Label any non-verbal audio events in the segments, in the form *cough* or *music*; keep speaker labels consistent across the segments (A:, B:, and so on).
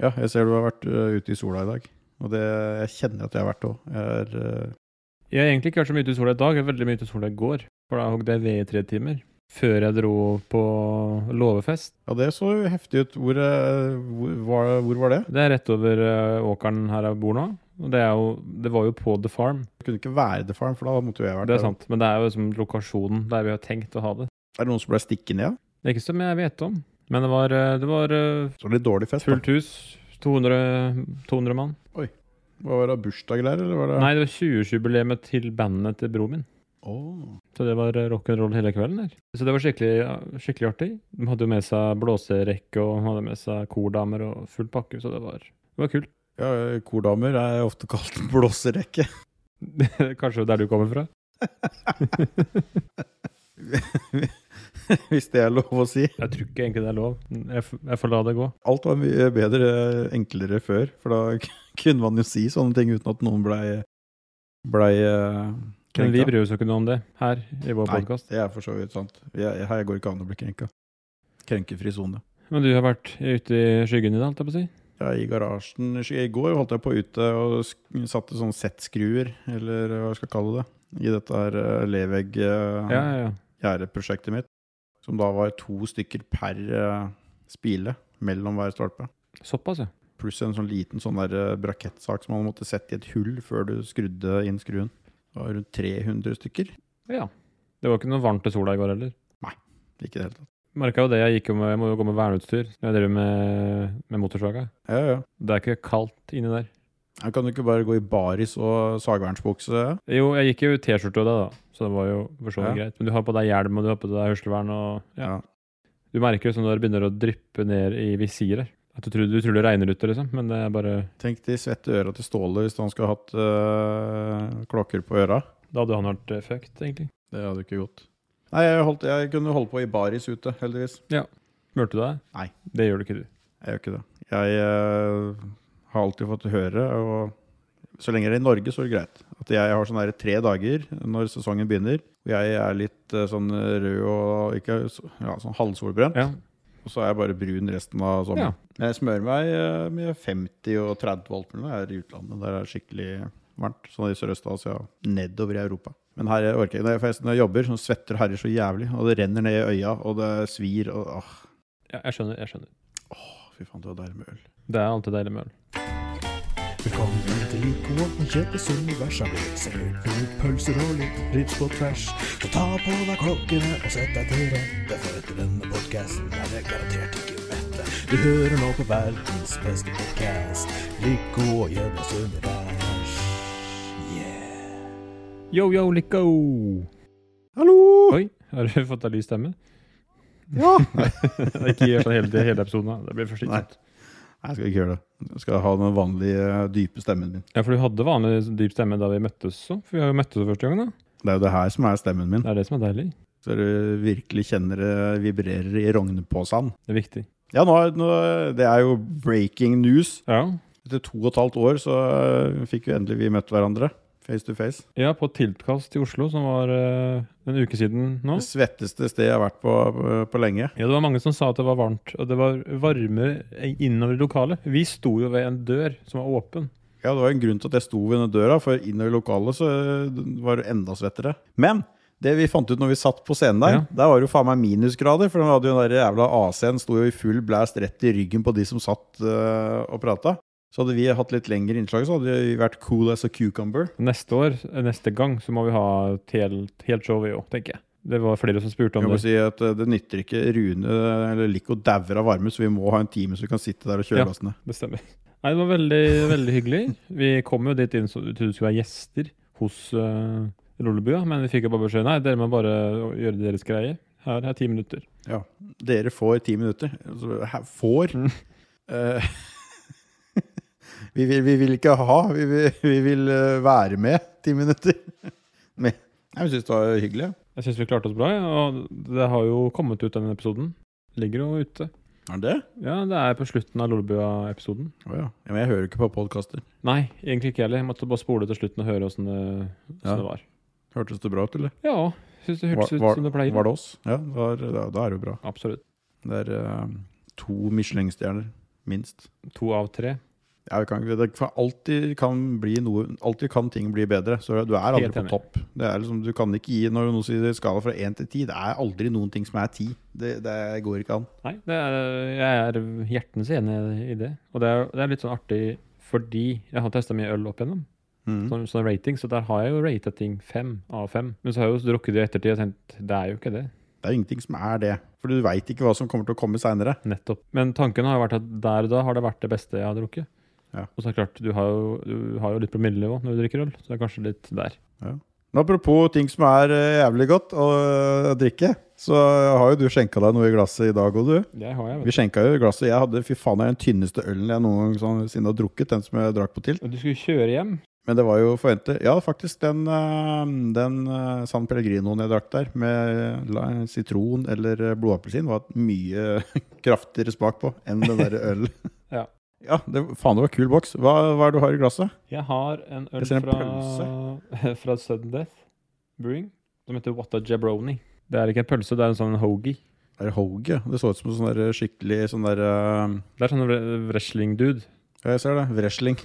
A: Ja, jeg ser du har vært ø, ute i sola i dag. Og det, jeg kjenner at jeg har vært òg. Jeg er eh, ø,
B: Jeg har egentlig ikke vært så mye ute i sola i dag. Jeg var veldig mye ute i sola i går. For da hogde jeg ved i tre timer. Før jeg dro på låvefest.
A: Ja, det så jo heftig ut. Hvor, ø, hvor, var, hvor var det?
B: Det er rett over eh, åkeren her jeg bor nå. Og det, er jo, det var jo på The Farm.
A: Det kunne ikke være The Farm, for da måtte jo jeg vært
B: Det er
A: der.
B: sant. Men det er jo liksom lokasjonen der vi har tenkt å ha det.
A: Er det noen som ble stikket ned?
B: Det er ikke som jeg vet om. Men det var, eh, det var eh,
A: Så litt dårlig fest. da.
B: fullt hus. 200, 200 mann.
A: Hva var det bursdager der, eller var det
B: Nei, det var 20-årsjubileet til bandet til broren min.
A: Åh.
B: Så det var eh, rock'n'roll hele kvelden der. Så det var skikkelig, skikkelig artig. De hadde jo med seg blåserekke og hadde med seg kordamer og full pakke, så det var, det var kult. *laughs*
A: Ja, eh, kordamer er ofte kalt blåserekke. *laughs*
B: Kanskje der du kommer fra?
A: Hvis det er lov å si.
B: Jeg tror ikke egentlig det er lov. Jeg, f- jeg får la det gå.
A: Alt var mye bedre, enklere før, for da *laughs* k- kunne man jo si sånne ting uten at noen blei blei eh,
B: Men vi
A: krenka.
B: bryr oss jo ikke noe om det her i vår
A: Nei,
B: podkast.
A: det er for så vidt sant. Jeg, her går ikke an å bli krenka. Krenkefri sone.
B: Men du har vært ute i skyggen i dag, holdt jeg på å si?
A: Ja, I garasjen I går holdt jeg på ute og sk- satte sånne settskruer, eller hva jeg skal kalle det, i dette her eh, Levegg eh,
B: Ja, ja, ja.
A: gjerdeprosjektet mitt. Som da var to stykker per eh, spile mellom hver stolpe.
B: Såpass, ja.
A: Pluss en sånn liten sånn der eh, brakettsak som man måtte sette i et hull før du skrudde inn skruen. Det var rundt 300 stykker.
B: Ja. Det var ikke noe varmt til sola i går heller.
A: Ikke i det hele tatt.
B: Merka jo det, jeg, gikk jo med, jeg må jo gå med verneutstyr når jeg driver med, med motorsaga.
A: Ja, ja.
B: Det er ikke kaldt inni der.
A: Jeg kan jo ikke bare gå i baris og sagvernsbukse.
B: Jo, jeg gikk jo i T-skjorte og det, da, så det var jo for så vidt
A: Ja.
B: greit. Men du har på deg hjelm, og du har på deg hørselvern, og ja.
A: Ja.
B: Du merker jo sånn når det begynner å dryppe ned i visiret. At du tror, du tror det regner ute, liksom, men det er bare
A: Tenk de svette øra til Ståle hvis han skulle hatt eh, klokker på øra.
B: Da hadde han vært eh, fucked, egentlig.
A: Det hadde ikke gått. Nei, jeg, holdt, jeg kunne holde på i baris ute, heldigvis.
B: Smurte du deg?
A: Nei.
B: Det gjør du ikke, du.
A: Jeg gjør ikke det. Jeg eh, har alltid fått høre, og så lenge det er i Norge, så er det greit. At jeg har sånne her tre dager når sesongen begynner, og jeg er litt eh, sånn rød og ikke, så- ja, sånn halvsolbrent,
B: Ja.
A: og så er jeg bare brun resten av sommeren. Men jeg smører meg eh, med 50 og 30 volt når jeg er i utlandet. Der er det skikkelig varmt. Sånn i Sørøst-Asia, nedover i Europa. Men her jeg orker jeg ikke. Når jeg- Når jeg jobber, så svetter og herjer så jævlig, og det renner ned i øya, og det svir, og åh,
B: ja. Jeg skjønner. jeg skjønner.
A: fy faen, det var deilig med øl.
B: Det er alltid deilig med øl.
C: Velkommen til Lipo og Kjetil Solvers. Her blir det servert noen pølser og litt rips på tvers. Så ta på deg klokkene og sett deg til rette, for etter denne podkasten er det garantert ikke mette. Du hører nå på verdens beste podkast, Lipo og Kjetil Solvers. Yeah.
B: Yo, yo, licko!
A: Hallo!
B: Oi, har du *laughs* fått deg lys stemme? *laughs*
A: Ja!
B: Ikke gjør sånn hele, hele episoden, da. Det blir for slitsomt.
A: Nei, jeg skal ikke gjøre det. Jeg skal ha den vanlige, dype stemmen min.
B: Ja, for du hadde vanlig dyp stemme da vi møttes så. For vi har jo møttes for første gang, da.
A: Det er jo det her som er stemmen min.
B: Det er det som er deilig.
A: Så du virkelig kjenner det vibrerer i rognepåsen.
B: Det er viktig.
A: Ja, nå, er- nå, det er jo breaking news.
B: Ja.
A: Etter to og et halvt år så eh, fikk vi endelig vi møtt hverandre. Face to face.
B: Ja, på Tiltkast i Oslo, som var eh, en uke siden nå.
A: Det svetteste stedet jeg har vært på, på, på lenge.
B: Ja, det var mange som sa at det var varmt, og det var varmere innover i lokalet. Vi sto jo ved en dør som var åpen.
A: Ja, det var en grunn til at jeg sto ved denne døra, for inne i lokalet så eh, var det enda svettere. Men det vi fant ut når vi satt på scenen der,
B: Ja.
A: der var det jo faen meg minusgrader, for den hadde jo den der jævla AC-en sto jo i full blæst rett i ryggen på de som satt øh, og prata. Så hadde vi hatt litt lengre innslag, så hadde vi vært cool as a cucumber.
B: Neste år, eh, neste gang, så må vi ha et helt, helt show, vi òg, tenker jeg. Det var flere som
A: Jeg
B: spurte om
A: må
B: det.
A: si at øh, Det nytter ikke Rune øh, eller Lico dauer av varme, så vi må ha en time så vi kan sitte der og kjøle
B: Ja.
A: oss ned.
B: Det stemmer. Nei, det var veldig, veldig hyggelig. Vi kom jo dit inn så vi trodde vi skulle være gjester hos uh, Lollebua, men vi fikk jo bare beskjed nei, dere må bare gjøre deres greie. Her er ti minutter.
A: Ja. Dere får ti minutter. Altså, hæ, Får?
B: Mm.
A: Eh, *laughs* vi, vil, vi vil ikke ha, vi vil, vi vil eh, være med ti minutter. *laughs* Men jeg syns det var hyggelig.
B: Jeg syns vi klarte oss bra, ja, og det har jo kommet ut den episoden. Ligger jo ute.
A: Er det?
B: Ja, det er på slutten av Lollebua-episoden.
A: Å ja. ja. Men jeg hører ikke på podkaster.
B: Nei, egentlig ikke heller. Jeg måtte bare spole til slutten og høre åssen det,
A: Ja.
B: hvordan det var.
A: Hørtes det bra ut, eller?
B: Ja, syns det hørtes
A: Var-
B: ut
A: var-
B: som det pleier.
A: Var det oss? Ja, det var, da, da er det jo bra.
B: Absolutt.
A: Det er eh, to Michelin-stjerner. Minst.
B: To av tre.
A: Ja, vi kan, det for alltid, kan bli noe, alltid kan ting bli bedre. Så du er aldri
B: Helt
A: på
B: enig.
A: topp. Det er liksom, du kan ikke gi Når noen sier skala fra én til ti, det er aldri noen ting som er ti. Det, det går ikke an.
B: Nei, det er, jeg er hjertens enig i det. Og det er, det er litt sånn artig fordi jeg har testa mye øl opp igjennom.
A: Mhm.
B: Sånn, sånn rating, så der har jeg jo rata ting fem av fem. Men så har jeg jo drukket det i ettertid og tenkt det er jo ikke det.
A: Det er ingenting som er det. For du veit ikke hva som kommer til å komme seinere.
B: Nettopp. Men tanken har jo vært at der og da har det vært det beste jeg har drukket.
A: Ja.
B: Og så er det klart, du har jo, du har jo litt promillenivå når du drikker øl, så det er kanskje litt der.
A: Men apropos ting som er eh, jævlig godt å eh, drikke, så har jo du skjenka deg noe i glasset i dag òg, du.
B: Det har jeg,
A: Vi skjenka jo i glasset. Jeg hadde fy faen, det er den tynneste ølen jeg noen gang sånn, siden har drukket. Den som jeg drakk på tilt.
B: Du skulle kjøre hjem.
A: Men det var jo forventet. Ja, faktisk, den, eh, den eh, San Pellegrinoen jeg drakk der, med eh, la- sitron eller eh, blodappelsin, var et mye *laughs* kraftigere smak på enn den *laughs* der ølen.
B: Ja.
A: Ja, det, faen, det var kul boks. Hva, hva er det du har i glasset?
B: Jeg har en øl
A: Jeg ser en
B: fra, *laughs* fra Sudden Death Brewing som heter Watta Jabroni. Det er ikke en pølse, det er en sånn hoagie.
A: Det er hoagie. Det så ut som en sånn der skikkelig sånn der eh,
B: Det er sånn wre- wrestling-dude.
A: Ja, jeg ser det. Wrestling. *laughs*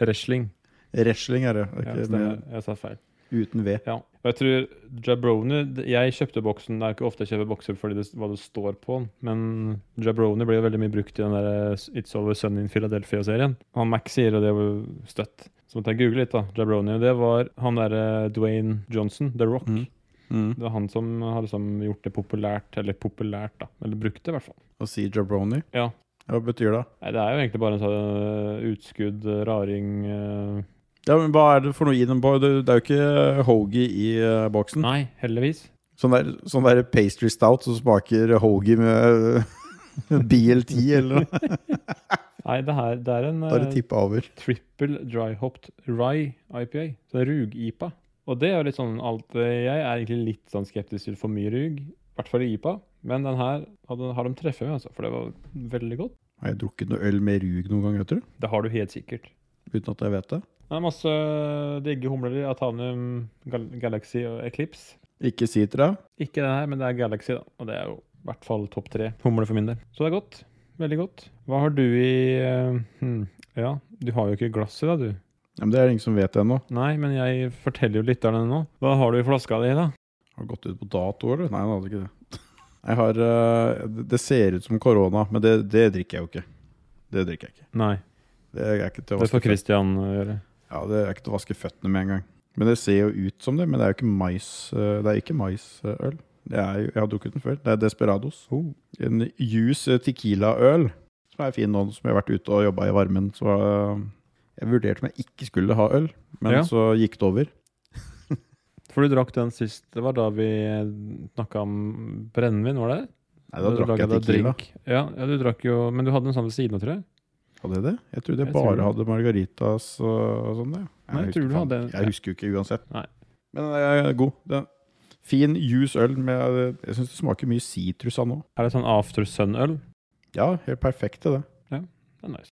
B: Wrestling.
A: Wrestling er det. det
B: Ja,
A: er ikke
B: stemmer.
A: med,
B: Jeg sa feil.
A: uten V.
B: Ja. Og jeg tror Jabroni d- Jeg kjøpte boksen. Det er ikke ofte jeg kjøper bokser fordi det, s- hva det står på, men Jabroni blir jo veldig mye brukt i den der eh, s- It's Always Sun in Philadelphia-serien. Han Max sier, og det var jo støtt. Så måtte jeg google litt, da. Jabroni. og Det var han derre Dwayne Johnson, The Rock.
A: Mhm. Mm.
B: Det var han som har liksom gjort det populært, eller populært, da. Eller brukt det, i hvert fall.
A: Å si jabroni.
B: Ja.
A: Hva betyr det?
B: Nei, det er jo egentlig bare en sånn øh, utskudd, øh, raring øh.
A: Ja, men Hva er det for noe i den? på- Det det er jo ikke hoagie i eh, boksen.
B: Nei, heldigvis.
A: Sånn der, sånn der pastry stout som smaker hoagie med *laughs* eh, BLT eller noe.
B: Nei, det her det er en
A: Da er
B: øh,
A: det tippa over.
B: triple dry hopped rye IPA. Så det er rug-IPA. Og det er jo litt sånn alt Jeg er egentlig litt sånn skeptisk til for mye rug, i hvert fall i IPA. Men den her hadde, har de treffet med, altså, for det var veldig godt.
A: Har jeg drukket noe øl med rug noen gang, vet du?
B: Det har du helt sikkert.
A: Uten at jeg vet det.
B: Det er masse digge humler i Atanium, Gal Galaxy og Eclipse.
A: Ikke sitra.
B: Ikke det her, men det er Galaxy, da. Og det er jo i hvert fall topp tre humler for min del. Så det er godt. Veldig godt. Hva har du i eh, hm, Ja, du har jo ikke glass i deg, du.
A: Ja, men det er det ingen som vet ennå.
B: Nei, men jeg forteller jo lytterne nå. Hva har du i flaska di, da?
A: Har det gått ut på dato, eller? Nei, det hadde ikke det. Jeg har, eh, det- det ser ut som korona, men det, det drikker jeg jo ikke. Det drikker jeg ikke.
B: Nei,
A: Det er ikke til å
B: det
A: vaske
B: får Christian eh, gjøre.
A: Ja, det er ikke til å vaske føttene med en gang. Men det ser jo ut som det, men det er jo ikke mais eh, Det er ikke maisøl. Det er jo, jeg har drukket den før. Det er Desperados.
B: Oh.
A: En juice eh, tequila-øl som er fin nå som jeg har vært ute og jobba i varmen. Så eh, jeg vurderte om jeg ikke skulle ha øl, men
B: Ja.
A: så gikk det over.
B: For du drakk den sist, det var da vi snakka om brennevin, var det?
A: Nei, da
B: Du
A: drakk jeg
B: laget da
A: tequila.
B: drink. Ja, ja, du drakk jo Men du hadde en sånn ved siden av, tror jeg?
A: Hadde jeg det? Jeg trodde jeg,
B: Jeg tror
A: bare
B: det.
A: hadde margaritas og, og sånn. det.
B: Nei, jeg
A: husker
B: tror du
A: faen
B: hadde-
A: ikke. Jeg husker jo ikke uansett.
B: Nei.
A: Men den er god. Den er fin juice-øl. med- eh, Jeg syns det smaker mye sitrus av nå.
B: Er det sånn After Sun-øl?
A: Ja, helt perfekt til det.
B: Det er nice.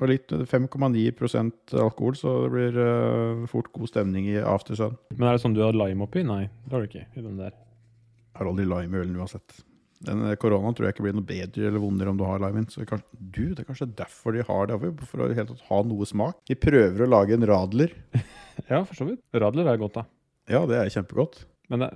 A: Og litt eh, 5,9 prosent alkohol, så det blir eh, fort god stemning i aftersun.
B: Men er det sånn du har lime oppi? Nei, det har du ikke. i den der.
A: Jeg har aldri lime i ølen uansett. Den eh, koronaen tror jeg ikke blir noe bedre eller vondere om du har lime i den. Så kanskje, du, det er kanskje derfor de har det, for å i det hele tatt ha noe smak. De prøver å lage en radler.
B: Ja, for så vidt. Radler er godt, da.
A: Ja, det er kjempegodt.
B: Men det,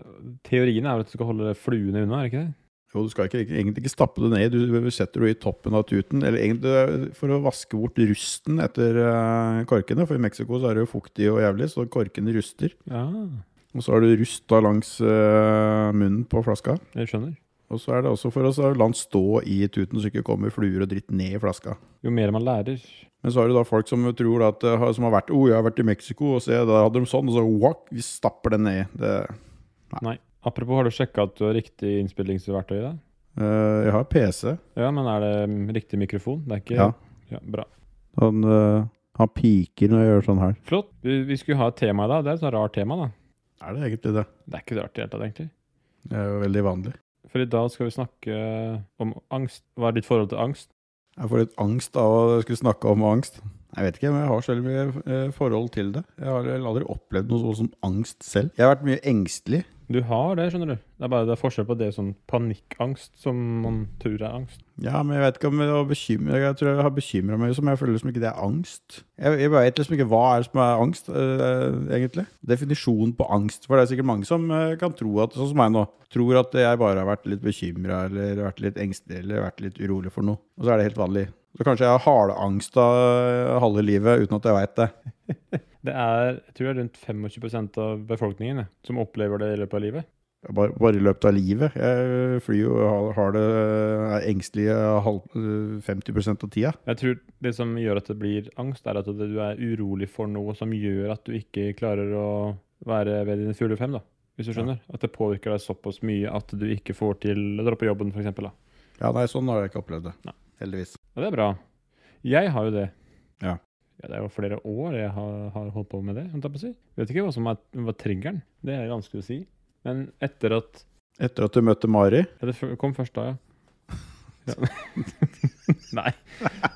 B: teorien er vel at du skal holde fluene unna, er det ikke det?
A: Jo, du skal ikke, egentlig ikke stappe det ned. Du du setter det i toppen av tuten. Eller egentlig eh, for å vaske bort rusten etter eh, korkene. For i Mexico så er det jo fuktig og jævlig, så korkene ruster.
B: Ja,
A: Og så har du rust da langs eh, munnen på flaska.
B: jeg skjønner.
A: Og så er det også for oss å la den stå i tuten, så ikke kommer fluer og dritt ned i flaska.
B: Jo mer man lærer
A: Men så har du da folk som tror at, eh, har- som har vært oh, jeg har vært i Mexico, og se, da hadde de sånn, og så wak, vi stapper den ned. Det,
B: Nei. Apropos, har du sjekka at du har riktig innspillingsverktøy i deg?
A: eh, jeg har PC.
B: Ja, men er det mm, riktig mikrofon? Det er ikke
A: Ja.
B: ja bra.
A: Han, eh, han piker når jeg gjør sånn her.
B: Flott. Vi, vi skulle ha et tema i dag. Det er et sånt rart tema, da.
A: Er det egentlig det?
B: Det er ikke rart i det hele tatt, egentlig.
A: Det er jo veldig vanlig.
B: For i dag skal vi snakke om angst. Hva er ditt forhold til angst?
A: Jeg får litt angst av å skulle snakke om angst. Jeg vet ikke, men jeg har så veldig mye eh, forhold til det. Jeg har vel aldri opplevd noe sånn som angst selv. Jeg har vært mye engstelig.
B: Du har det, skjønner du. Det er bare det er forskjell på det sånn panikkangst som man tror er angst.
A: Ja, men jeg vet ikke om det var bekymring. Jeg tror jeg har bekymra meg, som jeg føler liksom ikke det er angst. Jeg, jeg vet liksom ikke hva er det som er angst, eh, egentlig. Definisjonen på angst. For det er sikkert mange som eh, kan tro at, sånn som meg nå, tror at jeg bare har vært litt bekymra eller vært litt engstelig eller vært litt urolig for noe. Og så er det helt vanlig. Så kanskje jeg har haleangst av eh, halve livet uten at jeg veit det.
B: Det er jeg tror det er rundt 25 av befolkningen jeg, som opplever det i løpet av livet.
A: Bare, bare i løpet av livet. Jeg eh, flyr jo har, har det eh, er engstelig halv, 50 av tida.
B: Jeg tror det som gjør at det blir angst, er at det- du er urolig for noe som gjør at du ikke klarer å være ved dine fulle fem, da. Hvis du skjønner? At det påvirker deg såpass mye at du ikke får til å dra på jobben, f.eks. da.
A: Ja, nei, sånn har jeg ikke opplevd det.
B: Nei.
A: Heldigvis.
B: Ja, det er bra. Jeg har jo det.
A: Ja.
B: Ja, det er jo flere år jeg har, har holdt på med det. holdt jeg på å si. Vet ikke hva som er, var triggeren. Det er vanskelig å si. Men etter at
A: Etter at du møtte Mari
B: ja, Det f- kom først da, ja. *laughs* ja. Nei.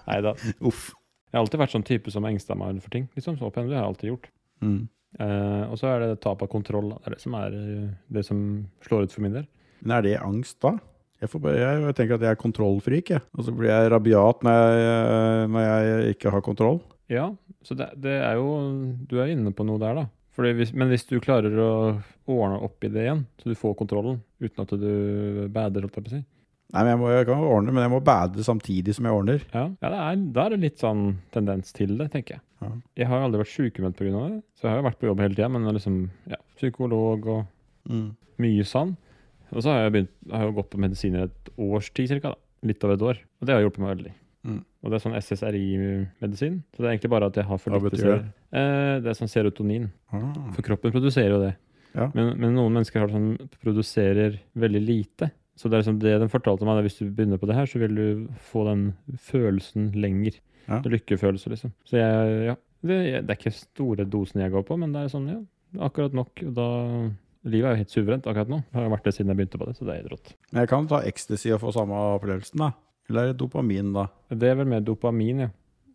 B: Nei da. Jeg
A: Uff.
B: har alltid vært sånn type som engsta meg for ting. liksom så pen, Det har jeg alltid gjort.
A: Mm.
B: Eh, og så er det tap av kontroll. da. Det er det som, er, eh, det som slår ut for min del.
A: Men er det angst da? Jeg, får bare, jeg, jeg tenker at jeg er kontrollfrik, jeg. Og så blir jeg rabiat når jeg, eh, når jeg ikke har kontroll.
B: Ja, så det, det er jo Du er inne på noe der, da. Fordi hvis, men hvis du klarer å ordne opp i det igjen, så du får kontrollen uten at du bader, holdt jeg på å si
A: Nei, men jeg, må, jeg kan ordne, men jeg må bade samtidig som jeg ordner.
B: Ja, ja det er, da er det litt sånn tendens til det, tenker jeg.
A: Ja.
B: Jeg har jo aldri vært sykemeldt pga. det, så jeg har jo vært på jobb hele tida, men liksom, ja, psykolog og mye sånn. Og så har jeg, begynt, har jeg jo gått på medisiner et års tid, cirka. Da. Litt over et år. Og det har hjulpet meg veldig.
A: Mm.
B: Og det er sånn SSRI-medisin. Så det er egentlig bare at jeg har for
A: Hva
B: lite
A: betyr det?
B: ser- Eh, det er sånn serotonin.
A: Ah.
B: For kroppen produserer jo det.
A: Ja.
B: Men, men noen mennesker har det sånn, produserer veldig lite. Så det er liksom det den fortalte meg, at hvis du begynner på det her, så vil du få den følelsen lenger.
A: Ja.
B: Det Lykkefølelse, liksom. Så jeg, ja. Det, det er ikke store dosen jeg går på, men det er sånn, ja, akkurat nok. Og da Livet er jo helt suverent akkurat nå. Det har jo vært det siden jeg begynte på det, så det er helt rått.
A: Men jeg kan ta ecstasy og få samme opplevelsen, da. Eller er det dopamin, da?
B: Det er vel mer dopamin, ja.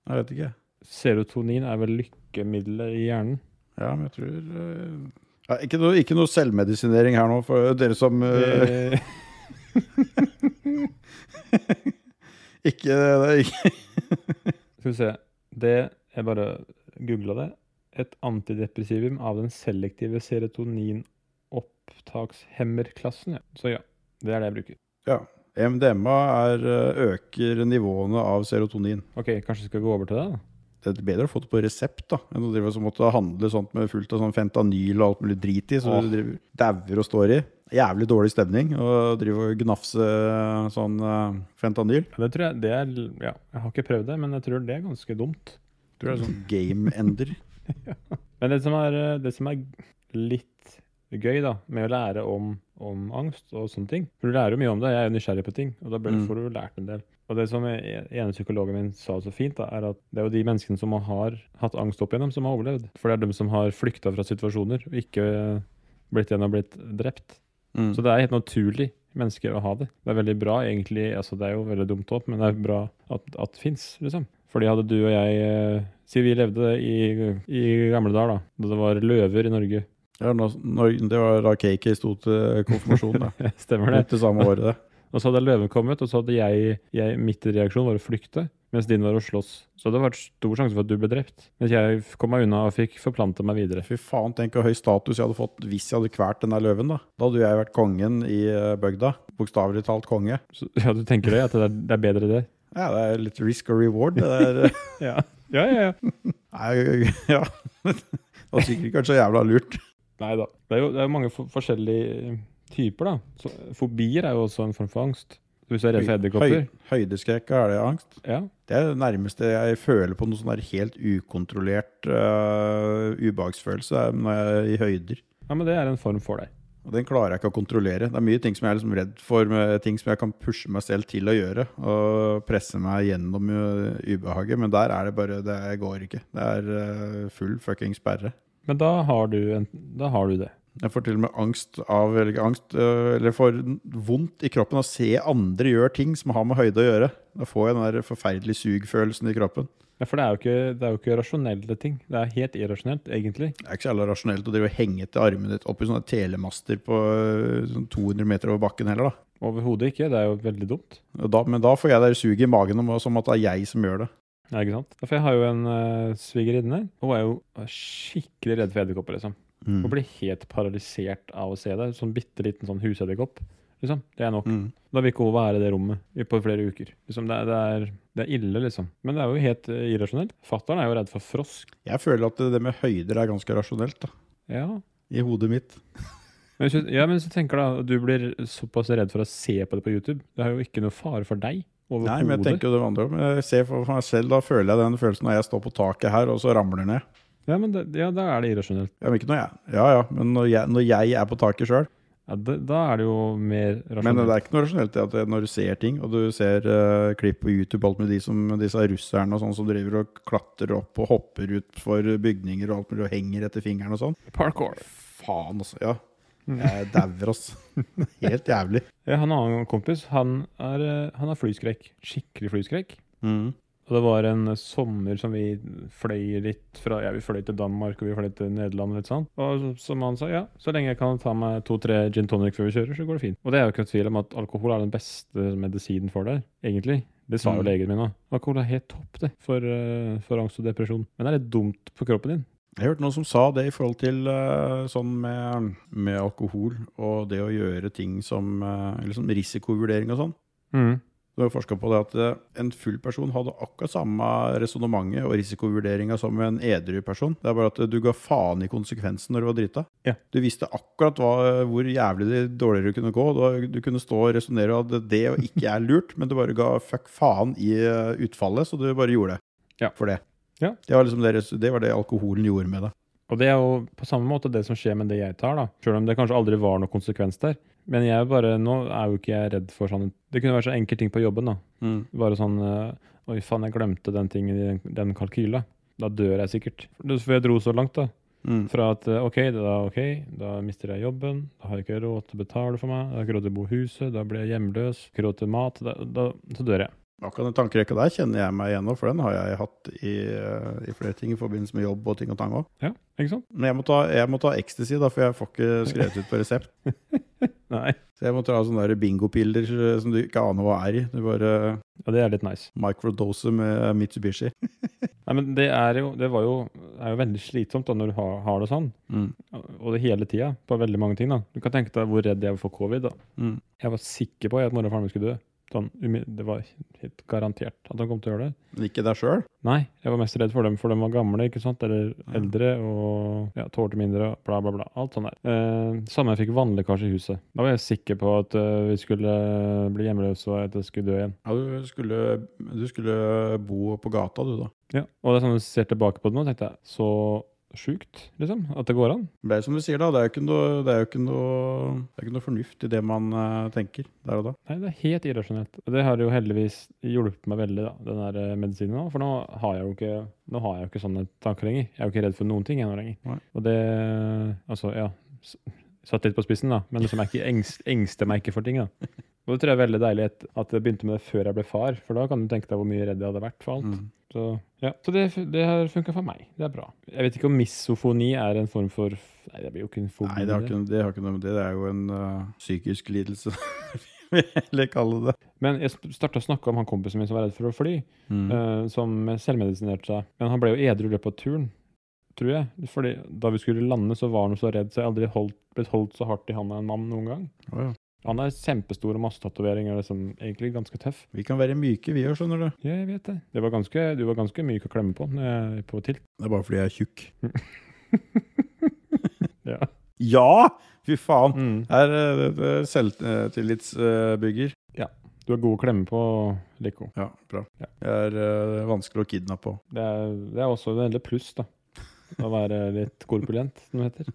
A: Jeg vet ikke.
B: Serotonin er vel lykkemiddelet i hjernen.
A: Ja, men jeg tror eh, ja, ikke, noe, ikke noe selvmedisinering her nå for dere som eh,
B: Eh,
A: *laughs* ikke, det er ikke
B: Skal vi se. Det Jeg bare googla det. Et antidepressivum av den selektive serotoninopptakshemmerklassen. Ja. Så ja, det er det jeg bruker.
A: MDMA er, eh, øker nivåene av serotonin.
B: OK, kanskje vi skal gå over til det? da?
A: Det er bedre å få det på resept da, enn å drive og så måtte handle sånt med fullt av sånn fentanyl og alt mulig drit i, så
B: Åh.
A: du driver dauer og står i. Jævlig dårlig stemning å drive og gnafse eh, sånn eh, fentanyl.
B: Ja, det tror jeg det er, ja, Jeg har ikke prøvd det, men jeg tror det er ganske dumt.
A: Tror det er sånn *laughs* game ender.
B: Men det som er, eh, det som er litt gøy da, med å lære om, om angst og sånne ting For du lærer jo mye om det, jeg er jo nysgjerrig på ting, og da ble,
A: Mm.
B: får du jo lært en del. Og det som jeg- ene psykologen min sa så fint, da, er at det er jo de menneskene som har hatt angst opp igjennom, som har overlevd. For det er dem som har flykta fra situasjoner, og ikke eh, blitt igjen og blitt drept.
A: Mm.
B: Så det er helt naturlig mennesker å ha det. Det er veldig bra, egentlig. Altså, det er jo veldig dumt opp, men det er bra at, at det fins, liksom. Fordi hadde du og jeg eh, Siden vi levde i, i gamle dager, da. Da det var løver i Norge. *laughs*
A: Ja, nå, når, det var da KK sto til eh, konfirmasjon, *laughs* da.
B: Stemmer det?
A: Rundt det samme året, det.
B: Og så hadde løven kommet, og så hadde jeg, jeg Mitt reaksjon var å flykte, mens din var å slåss. Så det hadde vært stor sjanse for at du ble drept. Mens jeg kom meg unna og fikk forplante meg videre.
A: Fy faen, tenk hvor høy status jeg hadde fått hvis jeg hadde kvært den der løven. Da Da hadde jeg vært kongen i eh, bygda. Bokstavelig talt konge.
B: Så, *laughs* ja, du tenker det? At det er, det er bedre det?
A: Ja, det er litt risk og reward. Det der.
B: Ja. Ja, ja, ja.
A: Nei, *laughs* ja. Det var sikkert ikke så jævla lurt.
B: Nei da. Det er jo det er jo mange for forskjellige eh, typer, da. Så, fobier er jo også en form for angst. Så Hvis du er redd for edderkopper.
A: Høy- høydeskrekk, er det angst?
B: Ja.
A: Det er det nærmeste jeg føler på noe sånn der helt ukontrollert eh, ubehagsfølelse er når jeg er i høyder.
B: ja, men det er en form for deg.
A: Og den klarer jeg ikke å kontrollere. Det er mye ting som jeg er liksom redd for, med ting som jeg kan pushe meg selv til å gjøre. Og presse meg gjennom ø, ubehaget. Men der er det bare Det går ikke. Det er ø, full fucking sperre.
B: Men da har du, en, da har du det.
A: Jeg får til og med angst av Eller ikke angst, ø, eller får vondt i kroppen av å se andre gjøre ting som har med høyde å gjøre. Da får jeg den der forferdelige sugfølelsen i kroppen.
B: Ja, for det er, jo ikke, det er jo ikke rasjonelle ting. Det er helt irrasjonelt, egentlig.
A: Det er ikke så jævla rasjonelt å drive og henge til armen ditt opp i sånne telemaster på øh, sånn 200 meter over bakken heller, da.
B: Overhodet ikke. Det er jo veldig dumt.
A: Og da men da får jeg det suget i magen om, som at det er jeg som gjør det.
B: Ja, ikke sant? Ja, For jeg har jo en uh, svigerinne. Hun er jo er skikkelig redd for edderkopper, liksom.
A: Mm.
B: Hun blir helt paralysert av å se det. Sånn bitte liten sånn husedderkopp. Liksom. Det er nok.
A: Mm.
B: Da vil ikke hun være i det rommet i- på flere uker. Liksom, det, er, det, er, det er ille, liksom. Men det er jo helt eh, irrasjonelt. Fattern er jo redd for frosk.
A: Jeg føler at det med høyder er ganske rasjonelt, da.
B: Ja.
A: I hodet mitt.
B: Men hvis, du- ja, men hvis du tenker da, at du blir såpass redd for å se på det på YouTube, det er jo ikke noe fare for deg.
A: Nei, men jeg
B: overhodet.
A: tenker jo det andre om. Jeg ser for meg selv, da føler jeg den følelsen når jeg står på taket her, og så ramler ned.
B: Ja, men det, ja, da er det irrasjonelt.
A: Ja, men ikke når jeg Ja ja, men når jeg, når jeg er på taket sjøl.
B: Ja, det, da er det jo mer
A: Men
B: rasjonelt.
A: det er ikke noe rasjonelt i at det- når du ser ting, og du ser eh, klipp på YouTube alt med de som, disse russerne og sånn som driver og klatrer opp og hopper utfor bygninger og alt mulig og henger etter fingeren og sånn.
B: Parkour.
A: Faen, altså. Ja. Jeg dauer, altså. *laughs* Helt jævlig.
B: Jeg har en annen kompis. Han, er, eh, han har flyskrekk. Skikkelig flyskrekk. Og det var en eh, sommer som vi fløy litt fra Ja, vi fløy til Danmark og vi fløy til Nederland. Litt sånn. Og så- som han sa, ja, så lenge jeg kan ta meg to-tre gin tonic før vi kjører, så går det fint. Og det er jo ikke noe tvil om at alkohol er den beste medisinen for deg, egentlig. Det sa jo
A: Mm.
B: legen min òg. Alkohol er helt topp det, for, eh, for angst og depresjon. Men det er litt dumt på kroppen din.
A: Jeg hørte noen som sa det i forhold til eh, sånn med, med alkohol og det å gjøre ting som eh, Eller sånn risikovurdering og sånn. Du har forska på det at eh, en full person hadde akkurat samme resonnementet og risikovurderinga som en edru person. Det er bare at eh, du ga faen i konsekvensen når du var drita.
B: Ja.
A: Du visste akkurat hva, eh, hvor jævlig det dårligere du kunne gå. Du, du kunne stå og resonnere at det og ikke er lurt, men du bare ga fuck faen i eh, utfallet, så du bare gjorde det
B: Ja.
A: for det.
B: Ja.
A: Det, var liksom det, res- det var det alkoholen gjorde med deg.
B: Og det er jo på samme måte det som skjer med det jeg tar, da. Selv om det kanskje aldri var noen konsekvens der. Men jeg er bare, nå er jo ikke jeg redd for sånn Det kunne være så enkel ting på jobben, da. Bare sånn eh, Oi, faen, jeg glemte den tingen i den, den kalkyla. Da dør jeg sikkert. For jeg dro så langt, da.
A: Mm.
B: Fra at eh, OK, da, ok, da mister jeg jobben. Da har jeg ikke råd til å betale for meg. Da har jeg ikke råd til å bo i huset. Da blir jeg hjemløs. Ikke råd til mat. Da, da, så dør jeg.
A: Akkurat den tankerekka der kjenner jeg meg igjen i, for den har jeg hatt i, eh, i flere ting i forbindelse med jobb og ting og tang òg.
B: Ja, ikke sant?
A: Men jeg må ta, jeg må ta ecstasy, da, for jeg får ikke skrevet ut på resept.
B: Nei.
A: *laughs* Så jeg må ta sånne der bingopiller eh, som du ikke aner hva er i. Du bare
B: Ja, det er litt nice.
A: microdose med eh, Mitsubishi.
B: Nei, men det er jo Det var jo, er jo veldig slitsomt da når du har, har det sånn.
A: Mm.
B: Og det hele tida. På veldig mange ting, da. Du kan tenke deg hvor redd jeg var for covid, da.
A: Mm.
B: Jeg var sikker på at mora og faren min skulle dø. Sånn, umi- det var helt garantert at han kom til å gjøre det.
A: Men ikke deg sjøl?
B: Nei, jeg var mest redd for dem, for de var gamle, ikke sant? Eller eldre og ja, tålte mindre, og bla, bla, bla. Alt sånt der. Eh, samme jeg fikk vannlekkasje i huset. Da var jeg sikker på at eh, vi skulle bli hjemløse og at jeg skulle dø igjen.
A: Ja, du skulle, du skulle bo på gata, du, da.
B: Ja. Og det er sånn jeg ser tilbake på det nå, tenkte jeg, så sjukt, liksom, at det går an.
A: Det er som du sier, da. Det er jo ikke noe, det er jo ikke noe, det er ikke noe fornuft i det man eh, tenker der og da.
B: Nei, det er helt irrasjonelt. Og det har jo heldigvis hjulpet meg veldig, da, den der eh, medisinen nå. For nå har jeg jo ikke, nå har jeg jo ikke sånne tanker lenger. Jeg er jo ikke redd for noen ting jeg nå lenger.
A: Nei.
B: Og det Altså, ja. s- Satt litt på spissen, da. Men liksom jeg er ikke engst, engster meg ikke for ting, da. Og det tror jeg er veldig deilig at- at jeg begynte med det før jeg ble far, for da kan du tenke deg hvor mye redd jeg hadde vært for alt.
A: Mm.
B: Så, ja. så det, det har funka for meg. Det er bra. Jeg vet ikke om misofoni er en form for Nei, det blir jo ikke en fobi.
A: Nei, det har, ikke, det har ikke noe med det. Det er jo en eh, psykisk lidelse, *laughs* vil jeg heller kalle det.
B: Men jeg starta å snakke om han kompisen min som var redd for å fly.
A: Mm.
B: eh, som selvmedisinerte seg. Men han ble jo edru i løpet av turen, tror jeg. Fordi da vi skulle lande, så var han jo så redd, så jeg har aldri holdt, blitt holdt så hardt i handa av en mann noen gang.
A: Å ja.
B: Han har kjempestore massetatoveringer og liksom, egentlig ganske tøff.
A: Vi kan være myke, vi òg, skjønner du.
B: Ja, jeg vet det. det var ganske, du var ganske myk å klemme på når jeg på tilt.
A: Det er bare fordi jeg er tjukk.
B: Ja.
A: Ja! Fy faen.
B: Mm.
A: Her er det er selvtillitsbygger.
B: Du er god å klemme på, Lico.
A: Ja, bra.
B: Ja.
A: Det er eh, vanskelig å kidnappe òg.
B: Det er, det er også et veldig pluss, da. Å være litt korpulent, som det heter.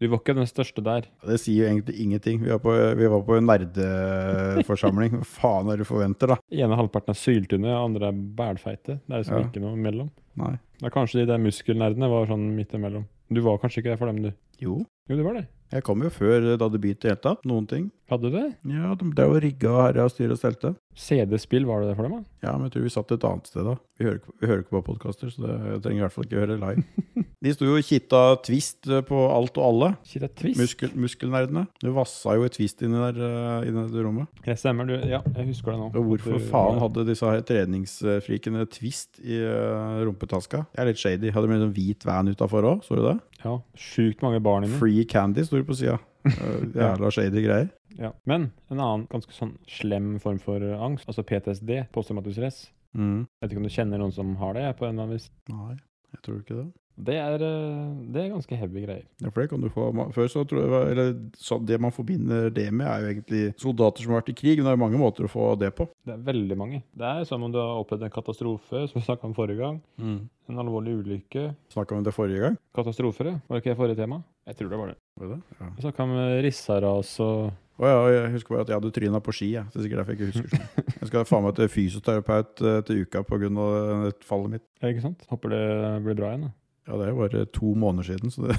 B: Du var ikke den største der.
A: Det sier jo egentlig ingenting. Vi var på, eh, vi var på en nerdeforsamling. *laughs* Hva faen er det du forventer, da?
B: ene halvparten er syltynne, andre er bælfeite. Det er liksom
A: Ja.
B: ikke noe imellom.
A: Nei.
B: Ja, kanskje de der muskelnerdene var sånn midt imellom. Du var kanskje ikke der for dem, du.
A: Jo.
B: Jo, det var det.
A: Jeg kom jo før eh, da det begynte i det hele tatt. Noen ting.
B: Hadde du det?
A: Ja, de drev og rigga og herja og styra og stelte.
B: CD-spill var det det for dem, da?
A: Ja, men jeg tror vi satt et annet sted da. Vi hører, ikke- vi hører ikke på podkaster, så det jeg trenger i hvert fall ikke høre live. De sto jo og kitta twist på alt og alle.
B: Shit, det er twist.
A: Muskel, muskelnerdene. Du vassa jo et twist inni der, eh, inni det rommet.
B: Det stemmer, du. Ja, jeg husker det nå.
A: Og hvorfor
B: At du-
A: faen hadde disse her treningsfrikene twist i eh, rumpetaska? Det er litt shady. Hadde med en sånn hvit van utafor òg, så du det?
B: Ja, Sjukt mange barn inni.
A: Free candy sto det på *laughs* sida. Eh, Jævla shady greier.
B: Ja. Men en annen ganske sånn slem form for eh, angst, altså PTSD, posttraumatisk stress.
A: Mm.
B: Jeg vet ikke om du kjenner noen som har det? jeg, på en eller annen vis.
A: Nei, jeg tror ikke det.
B: Det er, eh, det er ganske heavy greier.
A: Ja, for det kan du få ma- Før så tror jeg det var- Eller så det man forbinder det med, er jo egentlig soldater som har vært i krig. Men det er jo mange måter å få det på.
B: Det er veldig mange. Det er som om du har opplevd en katastrofe, som vi snakka om forrige gang.
A: Mm.
B: En alvorlig ulykke.
A: Snakka om det forrige gang.
B: Katastrofer, ja. Var det ikke det forrige tema? Jeg tror det var det.
A: Var det det? Ja.
B: Vi snakka om eh, rissaras og
A: Å ja, og jeg husker bare at jeg hadde tryna på ski. Jeg. Det er sikkert derfor jeg ikke husker sånn. Jeg skal faen meg til fysioterapeut eh, til uka pga. eh, fallet mitt.
B: Ja, Ikke sant? Håper det blir bra igjen. da.
A: Ja, det er jo bare to måneder siden, så det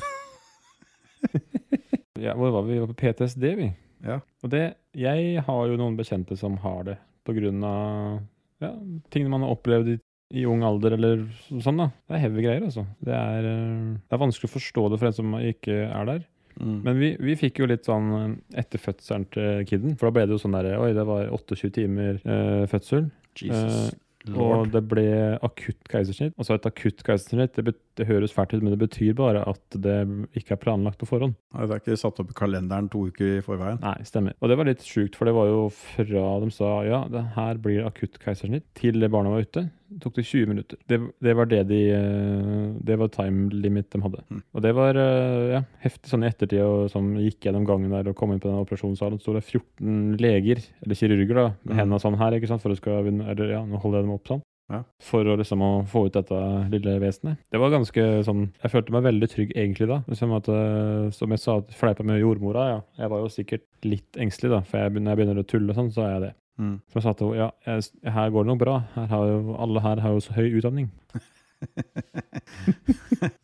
B: *laughs* Ja, hvor var vi? Vi var på PTSD, vi.
A: Ja.
B: Og det, jeg har jo noen bekjente som har det på grunn av ja, ting man har opplevd i, i ung alder eller sånn da. Det er heavy greier, altså. Det er, eh, det er vanskelig å forstå det for en som ikke er der. Men vi, vi fikk jo litt sånn eh, etter fødselen til kiden, for da ble det jo sånn der, oi, det var 28 timer eh, fødsel.
A: Jesus
B: eh,
A: lord.
B: Og det ble akutt keisersnitt. Altså et akutt keisersnitt, det, bet- det høres fælt ut, men det betyr bare at det ikke er planlagt på forhånd.
A: Nei, det er ikke satt opp i kalenderen to uker i forveien.
B: Nei, stemmer. Og det var litt sjukt, for det var jo fra de sa ja, det her blir akutt keisersnitt, til det barnet var ute, tok det 20 minutter. Det, det var det de eh, Det var time limit de hadde.
A: Mm.
B: Og det var eh, ja, heftig sånn i ettertid, og som gikk gjennom gangen der og kom inn på den operasjonssalen, sto det 14 leger, eller kirurger, da, med
A: Mm.
B: hendene sånn her, ikke sant, for å skal Eller ja, nå holder jeg dem opp sånn.
A: Ja.
B: For å liksom å få ut dette lille vesenet. Det var ganske sånn Jeg følte meg veldig trygg egentlig da. Liksom at, eh, som jeg sa, at fleipa med jordmora, ja. Jeg var jo sikkert litt engstelig, da. For jeg, begyn- når jeg begynner å tulle og sånn, så er jeg det.
A: Mm.
B: For jeg sa til henne ja, jeg, s- her går det nok bra. Her har jo, alle her har jo så høy utdanning.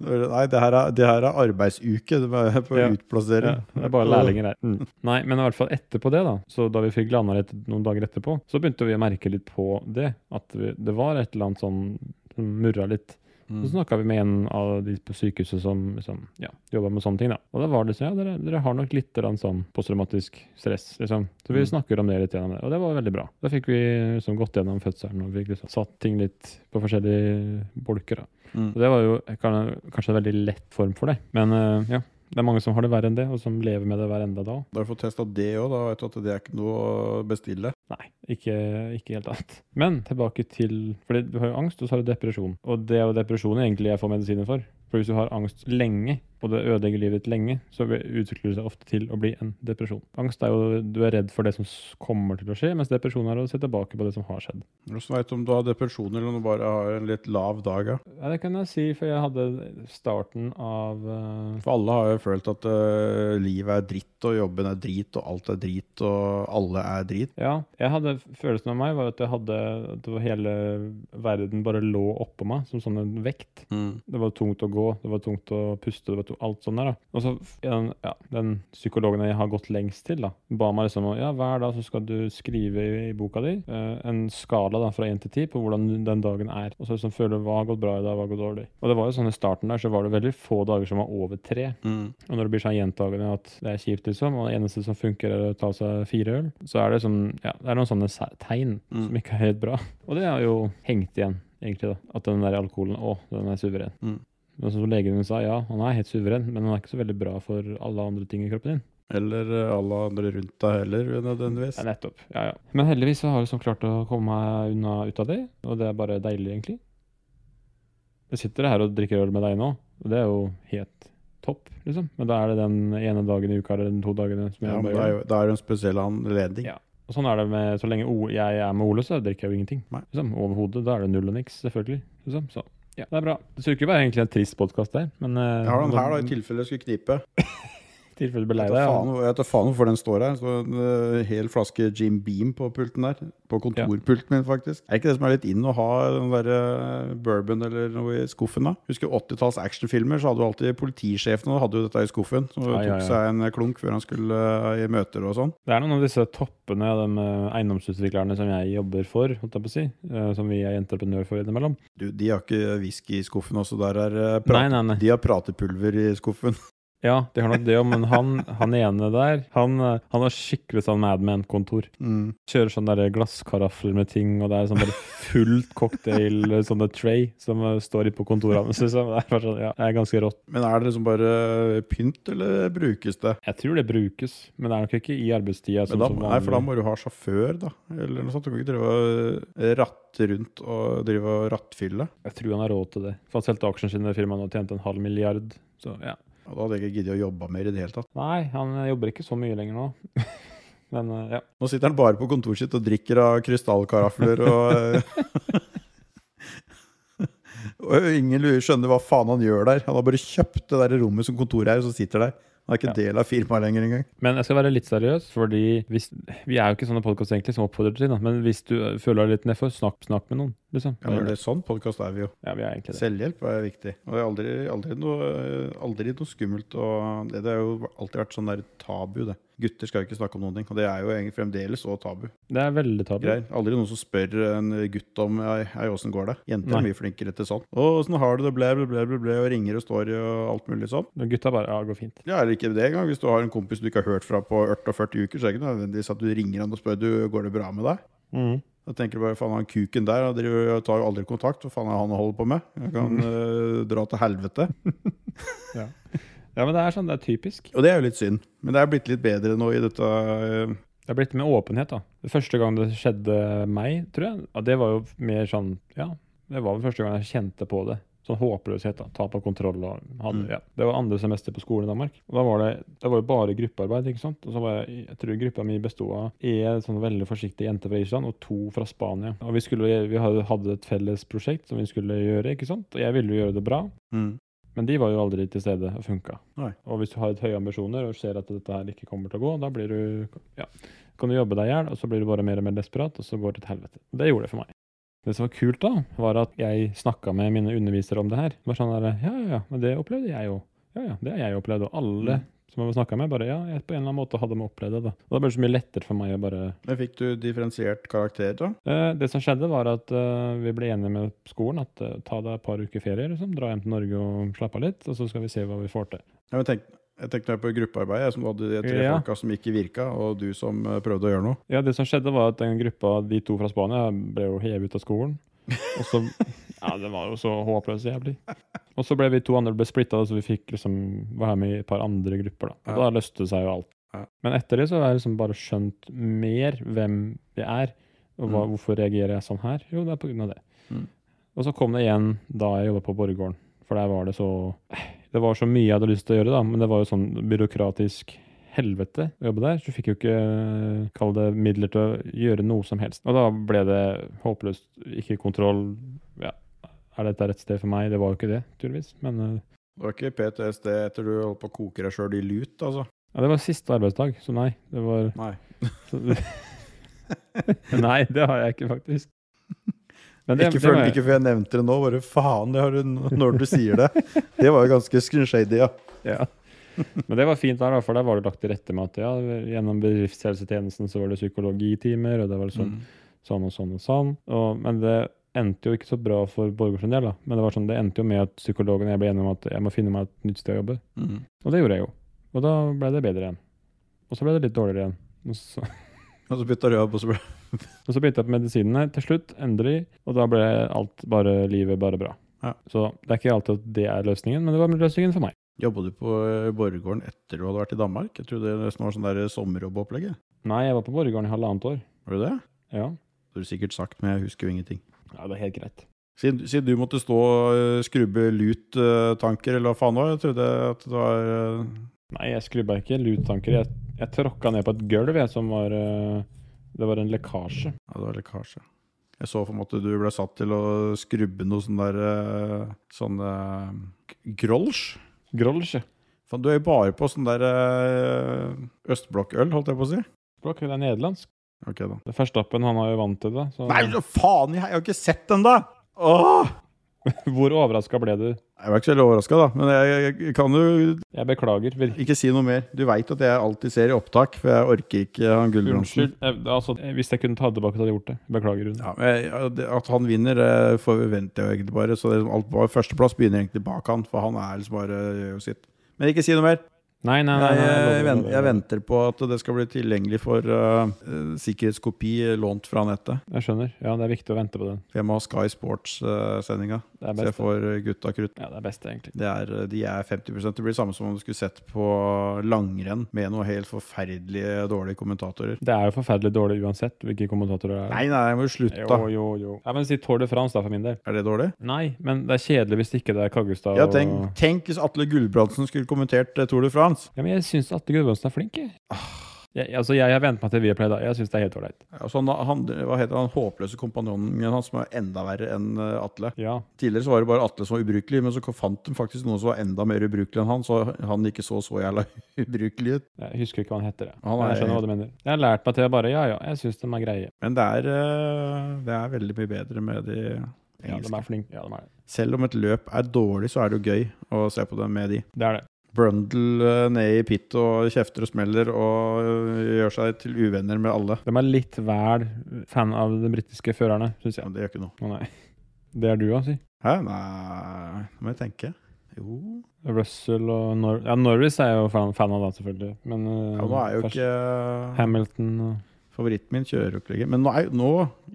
A: Nei, det her er, det her er arbeidsuke det var på
B: Ja.
A: utplassering.
B: Ja, det er bare lærlinger der. Mm. Nei, men i hvert fall etterpå det, da. Så da vi fikk landa litt noen dager etterpå, så begynte vi å merke litt på det. At vi, det var et eller annet sånn som murra litt. Så
A: Mm.
B: snakka vi med en av de på sykehuset som liksom, ja, jobba med sånne ting. da. Og da var det sånn, ja, dere, dere har nok litt grann sånn posttraumatisk stress. liksom. Så vi
A: Mm.
B: snakker om det litt gjennom det, og det var veldig bra. Da fikk vi liksom gått gjennom fødselen og fikk liksom satt ting litt på forskjellige bolker. da.
A: Mm.
B: Og det var jo kan, kanskje en veldig lett form for det. Men eh, ja, det er mange som har det verre enn det, og som lever med det hver enda dag.
A: Da har du fått testa det òg, da vet du at det er ikke noe å bestille.
B: Nei, ikke i det hele tatt. Men tilbake til Fordi du har jo angst, og så har du depresjon. Og det er jo depresjonen egentlig jeg får medisiner for. For hvis du har angst lenge, og det ødelegger livet ditt lenge, så utvikler det seg ofte til å bli en depresjon. Angst er jo du er redd for det som s- kommer til å skje, mens depresjon er å se tilbake på det som har skjedd.
A: Hvordan veit du om du har depresjon eller om du bare har en litt lav dag? Ja?
B: Ja, det kan jeg si, for jeg hadde starten av eh,
A: For alle har jo følt at øh, livet er dritt, og jobben er drit, og alt er drit, og alle er drit.
B: Ja, jeg hadde følelsen av meg var at jeg hadde at det var hele verden bare lå oppå meg som sånn en vekt. Det var tungt å gå, det var tungt å puste, det var tungt, alt sånn der. da. Og så f- den, ja, den psykologen jeg har gått lengst til, da, ba meg liksom om ja, hver dag så skal du skrive i, i boka di eh, en skala da, fra 1 til 10 på hvordan den dagen er. Og så liksom føle hva har gått bra i dag, hva har gått dårlig. Og det var jo sånn i starten der så var det veldig få dager som var over tre. Og når det blir sånn gjentagende at det er kjipt, liksom, og det eneste som funker, er å ta seg fire øl, så er det, sånn, ja, det er noen sånne se- tegn
A: Mm.
B: som ikke er helt bra. Og det har jo hengt igjen, egentlig. da, At den der alkoholen Å, den er suveren.
A: Mm.
B: Men som legen min sa, ja, han er helt suveren, men han er ikke så veldig bra for alle andre ting i kroppen din.
A: Eller øh, alle andre rundt deg heller, nødvendigvis.
B: Ja, nettopp. Ja, ja. Men heldigvis så har jeg liksom klart å komme meg unna ut av det, og det er bare deilig, egentlig. Jeg sitter her og drikker øl med deg nå, og det er jo helt topp, liksom. Men da er det den ene dagen i uka eller den to dagene som jeg
A: Ja, men
B: bare
A: det er
B: gjør.
A: jo det er jo en spesiell anledning.
B: Ja. Og sånn er det med, så lenge O- jeg er med Ole, så drikker jeg jo ingenting.
A: Nei.
B: Liksom, Overhodet. Da er det null og niks, selvfølgelig. Liksom. Så ja, det er bra. Det skulle ikke være egentlig en trist podkast der, men eh,
A: Jeg har den her, da, i tilfelle det skulle knipe.
B: tilfelle du blir lei
A: Jeg
B: deg.
A: tar
B: Ja.
A: faen- jeg tar faen hvorfor den står her. Så en eh, hel flaske Jim Beam på pulten der. På kontorpulten min, faktisk. Er ikke det som er litt inn å ha den der eh, bourbon eller noe i skuffen, da? Husker 80-talls actionfilmer, så hadde jo alltid politisjefen og hadde jo dette i skuffen. Så
B: Ja,
A: tok
B: ja, ja.
A: seg en klunk før han skulle eh, i møter og sånn.
B: Det er noen av disse toppene av de eh, eiendomsutviklerne som jeg jobber for, holdt jeg på å si, eh, som vi er entreprenør for innimellom.
A: Du, de har ikke whisky i skuffen også, der er eh,
B: Nei,
A: prat
B: nei, nei.
A: De har pratepulver i skuffen. *laughs*
B: Ja, de har nok det òg, men han, han ene der, han, eh, han har skikkelig sånn Madman-kontor.
A: Mm.
B: Kjører sånne der glasskarafler med ting, og det er sånn bare fullt cocktail, eh, sånne tray, som eh, står inne på kontoret hans. liksom. Det er bare sånn, ja, det er ganske rått.
A: Men er det liksom bare pynt, eller brukes det?
B: Jeg tror det brukes, men det er nok ikke i arbeidstida.
A: Men
B: Sånn,
A: da,
B: som
A: nei, for da
B: vanlig.
A: må du ha sjåfør, da. Eller noe sånt. Du kan ikke drive og ratte rundt og drive og rattfylle.
B: Jeg tror han har råd til det. For han solgte aksjene sine i firmaet og tjente en halv milliard. Så ja.
A: Og da hadde jeg ikke giddet å jobbe mer i det hele tatt.
B: Nei, han eh, jobber ikke så mye lenger nå. *laughs* Men eh, ja.
A: Nå sitter han bare på kontoret sitt og drikker av krystallkarafler og eh, *laughs* Og ingen lurer- skjønner hva faen han gjør der. Han har bare kjøpt det der rommet som kontoret er, og så sitter der. Han er ikke
B: Ja.
A: del av firmaet lenger engang.
B: Men jeg skal være litt seriøs, fordi hvis, vi er jo ikke sånne podkast egentlig som oppfordrer til det. Men hvis du eh, føler deg litt nedfor, snakk, snakk med noen. liksom.
A: Kan gjøre det sånn. Podkast er vi jo.
B: Ja, vi er egentlig det.
A: Selvhjelp er viktig. Og det er aldri, aldri, noe, aldri noe skummelt. Og det, det har jo alltid vært sånn der tabu, det. Gutter skal jo ikke snakke om noen ting. Og det er jo egentlig fremdeles òg tabu.
B: Det er veldig tabu.
A: Greier. Aldri noen som spør en gutt om «Ei, ei, åssen går det. Jenter
B: Nei.
A: er mye flinkere til sånn. Å, åssen har du det, blæ, blæ, blæ, blæ, blæ, og ringer og står i og alt mulig sånn.
B: Men Gutta bare Ja, det går fint.
A: Ja, eller ikke det engang. Hvis du har en kompis du ikke har hørt fra på 48 uker, så er det ikke nødvendigvis at du ringer han og spør du, går det bra med deg. Da tenker du bare faen, han kuken der han driver, jeg tar jo aldri kontakt. Hva faen er han holder på med? Jeg kan
B: Mm.
A: eh, dra til helvete.
B: Ja, men det er sånn. Det er typisk.
A: Og det er jo litt synd. Men det er blitt litt bedre nå i dette eh,
B: Det er blitt mer åpenhet, da. Det første gang det skjedde meg, tror jeg, ja, det var jo mer sånn Ja, det var vel første gang jeg kjente på det. Sånn håpløshet, da. Tap av kontroll og hadde,
A: Mm.
B: ja. Det var andre semester på skolen i Danmark. Og da var det, det var jo bare gruppearbeid, ikke sant. Og så var jeg, jeg tror gruppa mi bestod av en sånn veldig forsiktig jente fra Island og to fra Spania. Og vi, skulle, vi hadde hadde et felles prosjekt som vi skulle gjøre, ikke sant. Og jeg ville jo gjøre det bra. Men de var jo aldri til stede og funka.
A: Nei.
B: Og hvis du har et høye ambisjoner og ser at dette her ikke kommer til å gå, da blir du, ja, kan du jobbe deg i hjel, og så blir du bare mer og mer desperat, og så går det til helvete. Og Det gjorde det for meg. Det som var kult, da, var at jeg snakka med mine undervisere om det her. Det var sånn der, Ja, ja, ja, men det opplevde jeg jo. Ja, ja, det har jeg opplevd. Og alle
A: Mm.
B: som jeg snakka med, bare ja, jeg på en eller annen måte hadde de opplevd det. da. Og da ble det så mye lettere for meg å bare
A: Men fikk du differensiert karakter, da?
B: Eh, Det som skjedde, var at eh, vi ble enige med skolen at eh, ta deg et par uker ferie, liksom. Dra hjem til Norge og slappe av litt, og så skal vi se hva vi får til.
A: Ja, men tenk, jeg tenkte på gruppearbeidet, jeg som hadde de tre
B: Ja.
A: folka som ikke virka, og du som eh, prøvde å gjøre noe.
B: Ja, det som skjedde var at den gruppa, de to fra Spania, ble jo hevet ut av skolen. Og så Ja, det var jo så håpløst jævlig. Og så ble vi to andre ble splitta, så vi fikk liksom være med i et par andre grupper, da.
A: Ja.
B: Og da løste det seg jo alt.
A: Ja.
B: Men etter det så har jeg liksom bare skjønt mer hvem jeg er, og hva, hvorfor reagerer jeg sånn her? Jo, det er på grunn av det.
A: Mm.
B: Og så kom det igjen da jeg jobba på Borregaarden, for der var det så Det var så mye jeg hadde lyst til å gjøre, da, men det var jo sånn byråkratisk helvete å jobbe der, så fikk jeg jo ikke kall det midler til å gjøre noe som helst. Og da ble det håpløst, ikke kontroll. Ja, er dette rett sted for meg? Det var jo ikke det, tydeligvis. Men eh,
A: Det var ikke PTSD etter du holdt på å koke deg sjøl i lut, altså?
B: ja, det var siste arbeidsdag, så nei. Det var *laughs*
A: Nei.
B: Nei, det har jeg ikke, faktisk. Men det-
A: ikke,
B: det
A: før,
B: må jeg-
A: ikke før jeg nevnte det nå, bare faen, det har du, når du sier det. Det var jo ganske shady, ja.
B: Ja. Men det var fint der, da, for der var det lagt til rette med at ja, gjennom bedriftshelsetjenesten så var det psykologitimer, og det var
A: Mm.
B: sånn, sånn og sånn og sånn. Og, men det endte jo ikke så bra for Borgers sin del, da. Men det var sånn, det endte jo med at psykologen og jeg ble enige om at jeg må finne meg et nytt sted å jobbe. Og det gjorde jeg jo. Og da ble det bedre igjen. Og så ble det litt dårligere igjen. Og så,
A: Og så bytta du jobb, og så ble
B: og så begynte jeg på medisinene til slutt, endelig, og da ble alt bare livet bare bra.
A: Ja.
B: Så det er ikke alltid at det er løsningen, men det var løsningen for meg.
A: Jobba du på eh, Borregaarden etter du hadde vært i Danmark? Jeg trodde det nesten var sånn der sommerjobbopplegget.
B: Nei, jeg var på Borregaarden i halvannet år.
A: Var det det?
B: Ja.
A: Det har du sikkert sagt, men jeg husker jo ingenting.
B: ja, det er helt greit.
A: Siden, siden du måtte stå og eh, skrubbe lut-tanker, eller hva faen det var, jeg trodde at det var eh,
B: Nei, jeg skrubba ikke luttanker. Jeg, jeg tråkka ned på et gulv jeg, som var eh, Det var en lekkasje.
A: Ja, det var lekkasje. Jeg så for meg at du ble satt til å skrubbe noe sånn der eh, Sånn eh, k- grolsj.
B: Grolsje.
A: Faen, du er jo bare på sånn der eh, østblokkøl, holdt jeg på å si.
B: Språk, det er nederlandsk.
A: Ok, da.
B: Det er Verstappen, han har jo vant til det. Så
A: Nei, så faen! Jeg jeg har ikke sett den, da! Åh!
B: hvor overraska ble du?
A: Jeg var ikke så veldig overraska, da. Men jeg, jeg, jeg kan jo
B: Jeg beklager. virkelig.
A: ikke si noe mer. Du veit at jeg alltid ser i opptak, for jeg orker ikke han Gulbrandsen.
B: Unnskyld. Jeg, altså, hvis jeg kunne ta det tilbake, så hadde jeg gjort det. Beklager. Rune.
A: Ja, men jeg- det- at han vinner, eh, forventer jeg egentlig bare. Så det er liksom alt bare førsteplass begynner egentlig bak han, for han er liksom bare gjør jo sitt. Men ikke si noe mer.
B: Nei, nei, nei,
A: Jeg,
B: nei,
A: jeg,
B: lover,
A: venter,
B: lover.
A: jeg venter på at det skal bli tilgjengelig for eh, eh, sikkerhetskopi lånt fra nettet.
B: Jeg skjønner. Ja, det er viktig å vente på den.
A: For jeg må ha Sky Sports-sendinga,
B: Det er
A: så jeg
B: best.
A: får eh, gutta krutt.
B: Ja, det er best, egentlig.
A: Det er, eh, de er 50 Det blir samme som om du skulle sett på langrenn med noen helt forferdelige dårlige kommentatorer.
B: Det er jo forferdelig dårlig uansett hvilke kommentatorer det er.
A: Nei, nei, jeg må jo slutte,
B: Jo,
A: da.
B: jo, jo. Ja, men si Tour de France, da, for min del.
A: Er det dårlig?
B: Nei, men det er kjedelig hvis ikke det er Kaggestad
A: Ja,
B: og-
A: tenk, tenk hvis Atle Gulbrandsen skulle kommentert eh, Tour de France.
B: Ja, men jeg syns Atle Gudbrandsen er flink, jeg.
A: Ah.
B: jeg altså, jeg har vent meg til Viaplay, da. Jeg syns det er helt ålreit.
A: Altså, han, han, hva heter han håpløse kompanjongen hans, som er enda verre enn eh, Atle?
B: Ja.
A: Tidligere så var det bare Atle som var ubrukelig, men så fant de faktisk noen som var enda mer ubrukelig enn han, så han ikke så så jævla *laughs* ubrukelig ut.
B: Jeg husker ikke hva han heter. Jeg,
A: Han
B: Men jeg
A: er-
B: skjønner hva du mener. Jeg har lært meg til å bare Ja, ja, jeg syns de er greie.
A: Men det er, eh, det er veldig mye bedre med de
B: Ja, de
A: engelske.
B: er flinke. Ja, de er det.
A: Selv om et løp er dårlig, så er det jo gøy å se på det med de.
B: Det er det.
A: Brundle eh, ned i pit og kjefter og smeller og eh, gjør seg til uvenner med alle.
B: De er litt vel fan av de britiske førerne, syns jeg.
A: Men det gjør ikke noe.
B: Å nei. Det er du òg, si.
A: Hæ? Nei, nå må jeg tenke. Jo
B: Russell og Nor Ja, Norris er jeg jo fan, fan av, da, selvfølgelig. Men eh,
A: ja, Nå er jo
B: først-
A: ikke eh,
B: Hamilton og
A: Favoritten min kjører jo ikke lenger. Men nå, er, jo- nå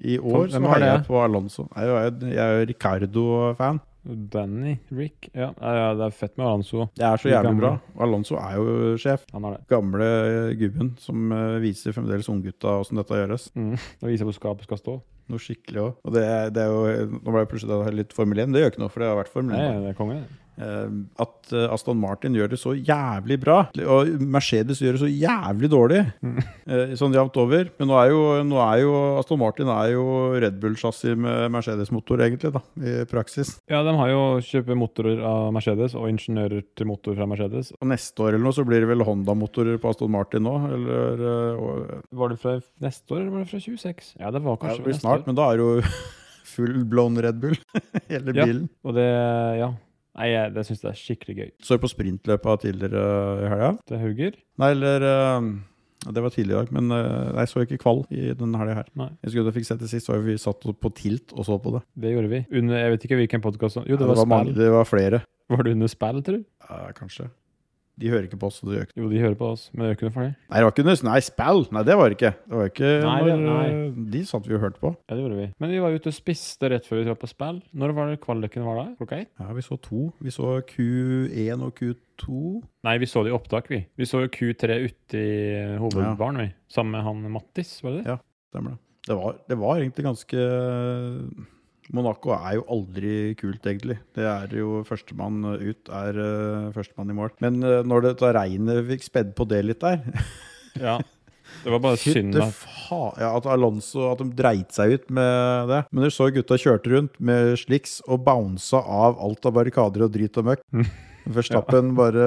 A: i år, så
B: Hvem har
A: heier jeg
B: det?
A: på Alonso. Jeg er jo, jeg er jo Ricardo-fan.
B: Danny, Rick Ja, ja, ja, det er fett med Alonso.
A: Det er så
B: De
A: jævlig
B: gamle.
A: bra. Alonso er jo sjef.
B: Han har det.
A: Gamle gubben som eh, viser fremdeles unggutta åssen dette gjøres.
B: Mm. Det viser hvor skapet skal stå.
A: Noe skikkelig òg. Og det, er- det er jo Nå ble jeg plutselig da litt Formel 1. Det gjør ikke noe, for det har vært Formel 1.
B: Nei,
A: da.
B: det er konge. det.
A: Eh, at eh, Aston Martin gjør det så jævlig bra, og Mercedes gjør det så jævlig dårlig,
B: Mm.
A: eh, sånn jevnt over. Men nå er jo, nå er jo Aston Martin er jo Red Bull-chassis med Mercedes-motor, egentlig, da, i praksis.
B: Ja, de har jo kjøpt motorer av Mercedes og ingeniører til motor fra Mercedes.
A: Og neste år eller noe så blir det vel Honda-motorer på Aston Martin nå, eller eh, og,
B: Var det fra neste år, eller var det fra 26? Ja, det var
A: ja,
B: kanskje
A: Det blir
B: neste
A: snart,
B: år.
A: men da er det jo *laughs* full blown Red Bull, *laughs* hele
B: Ja.
A: bilen.
B: Og det Ja. Nei, jeg, det syns jeg er skikkelig gøy.
A: Så på sprintløpet tidligere i helga.
B: Det hauger.
A: Nei, eller eh, Det var tidlig i dag, men eh, jeg så ikke kvall i den helga her.
B: Nei.
A: Jeg husker du fikk sett det sist, var jo vi satt på tilt og så på det.
B: Det gjorde vi. Under Jeg vet ikke hvilken podkast Jo,
A: Ja,
B: det var,
A: mange,
B: spill.
A: det var flere.
B: Var det under spill, tror du?
A: Ja, kanskje. De hører ikke på oss. Så det gjør ikke.
B: Jo, de hører på oss, men det er jo ikke noe farlig.
A: Nei, det var ikke nøs. Nei, spill! Nei, det var det ikke. Det var ikke
B: Nei,
A: når,
B: det- nei.
A: eh, De satt vi og hørte på.
B: Ja, det gjorde vi. Men vi var ute og spiste rett før vi dro på spill. Når var det kvaliken var da? Klokka ett?
A: Ja, Vi så to. Vi så Q1 og Q2.
B: Nei, vi så det i opptak, vi. Vi så jo Q3 ute i hovedbaren, vi. Sammen med han Mattis, var det
A: Ja.
B: det?
A: Stemmer det. Det var, det var egentlig ganske Monaco er jo aldri kult, egentlig. Det er jo førstemann ut er eh, førstemann i mål. Men eh, når det da regnet fikk spedd på det litt der
B: Ja. *laughs* Det var bare synd
A: Fytte
B: at
A: faen ja, At Alonso At de dreit seg ut med det. Men dere så gutta kjørte rundt med slicks og bounsa av alt av barrikader og drit og møkk. Verstappen bare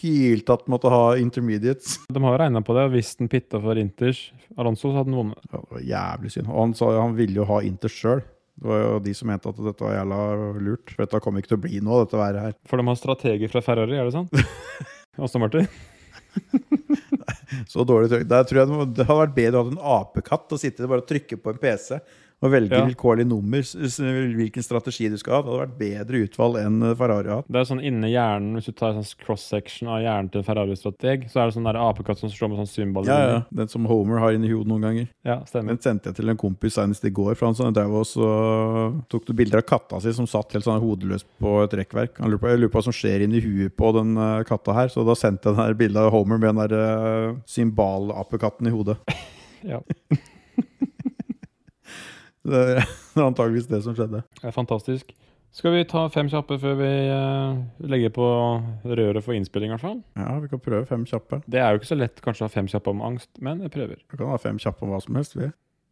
A: hylte at han måtte ha intermediates.
B: de har regna på det. og Hvis den pitta for Inters Alonso, så hadde den vunnet.
A: Ja, det var jævlig synd. Og han sa jo han ville jo ha Inter sjøl. Det var jo de som mente at dette var jævla lurt. For dette kommer ikke til å bli noe, dette været her.
B: For de har strateger fra Ferrari, er det
A: *laughs*
B: sant? Aston Martin?
A: Så dårlig trykk. Der tror jeg det, må, det hadde vært bedre å ha en apekatt og sitte bare og trykke på en PC og velge
B: Ja.
A: vilkårlig nummer, s- s- hvilken strategi du skal ha. Det hadde vært bedre utvalg enn eh, Ferrari har hatt.
B: Det er sånn inni hjernen, hvis du tar en sånn cross-section av hjernen til en Ferrari-strateg, så er det sånn der apekatt som slår med sånn symbol.
A: Ja, ja. Den som Homer har inni hodet noen ganger.
B: ja, stemmer.
A: Den sendte jeg til en kompis senest i går. For han sånn, drev og så tok du bilder av katta si som satt helt sånn hodeløs på et rekkverk. Han lurer på, jeg lurer på hva som skjer inni huet på den eh, katta her. Så da sendte jeg den her bildet av Homer med den der uh, symbalapekatten i hodet. *laughs*
B: Ja.
A: Det er antageligvis det som skjedde.
B: Det er fantastisk. Skal vi ta fem kjappe før vi eh, legger på røret for innspilling, i hvert fall?
A: Ja, vi kan prøve fem kjappe.
B: Det er jo ikke så lett kanskje å ha fem kjappe om angst, men jeg prøver.
A: Vi kan ha fem kjappe om hva som helst, vi.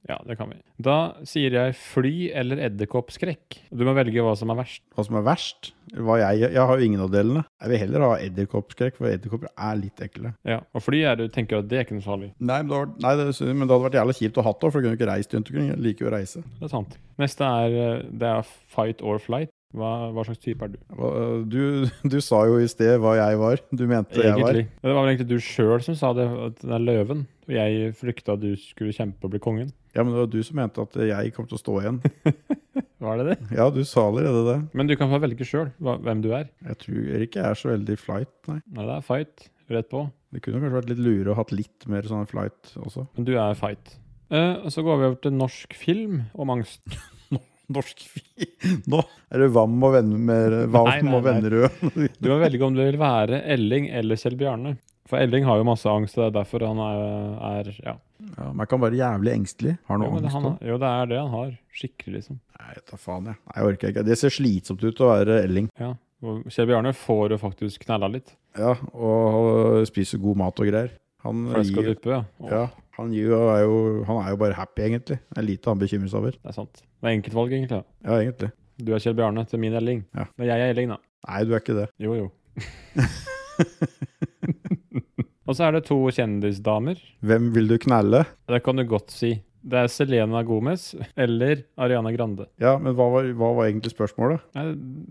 B: Ja, det kan vi. Da sier jeg fly eller edderkoppskrekk. Du må velge hva som er verst.
A: Hva som er verst? Hva jeg, jeg har jo ingen av delene. Jeg vil heller ha edderkoppskrekk, for edderkopper er litt ekle.
B: Ja, Og fly er du tenker at det er ikke noe farlig.
A: Nei, men det, var, nei, det, men det hadde vært jævla kjipt å ha det, for du kunne jo ikke reist rundt omkring. Jeg liker jo å reise.
B: Det er sant. Neste er, eh, det er fight or flight. Hva, hva slags type er du?
A: Hva- Du, du sa jo i sted hva jeg var. Du mente jeg var.
B: Egentlig. Det var vel egentlig du sjøl som sa det, at den er løven. Og jeg frykta at du skulle kjempe og bli kongen.
A: Ja, men det var du som mente at jeg kom til å stå igjen.
B: Var det det?
A: Ja, du sa allerede det.
B: Men du kan få velge sjøl hvem du er.
A: Jeg tror ikke jeg er så veldig flight, nei.
B: Nei, det er fight. Rett på.
A: Det kunne kanskje vært litt lure å hatt litt mer sånn flight også.
B: Men du er fight. Eh, og så går vi over til norsk film om angst.
A: Norsk *laughs* fi. Nå er det Vam og venner med
B: Nei,
A: Vam
B: nei,
A: og
B: nei.
A: Vennerød.
B: Du må velge om du vil være Elling eller Kjell Bjarne. For Elling har jo masse angst, og det er derfor han er, er ja.
A: *laughs* Ja, men jeg kan være jævlig engstelig. Har
B: Jo,
A: noe
B: men
A: angst
B: han,
A: da?
B: jo, det er det han har. Skikkelig, liksom.
A: Nei, jeg tar faen, jeg. Nei, jeg orker ikke. Det ser slitsomt ut å være elling.
B: Ja. Og Kjell Bjarne får jo faktisk knella litt.
A: Ja, og spiser god mat og greier. Han
B: Flesk og
A: gir,
B: duppe, ja. Å,
A: ja, han, gir, jo- er jo, han er jo bare happy, egentlig. Det er lite han bekymrer seg over.
B: Det er sant. Det er enkeltvalg, egentlig. ja.
A: Ja, egentlig.
B: Du er Kjell Bjarne til min Elling.
A: Ja.
B: Men jeg er Elling, da.
A: Nei, du er ikke det.
B: Jo, *laughs* jo. og så er det to kjendisdamer.
A: Hvem vil du knalle?
B: Det kan du godt si. Det er Selena Gomez eller Ariana Grande.
A: Ja, men hva var, hva var egentlig spørsmålet?
B: Nei,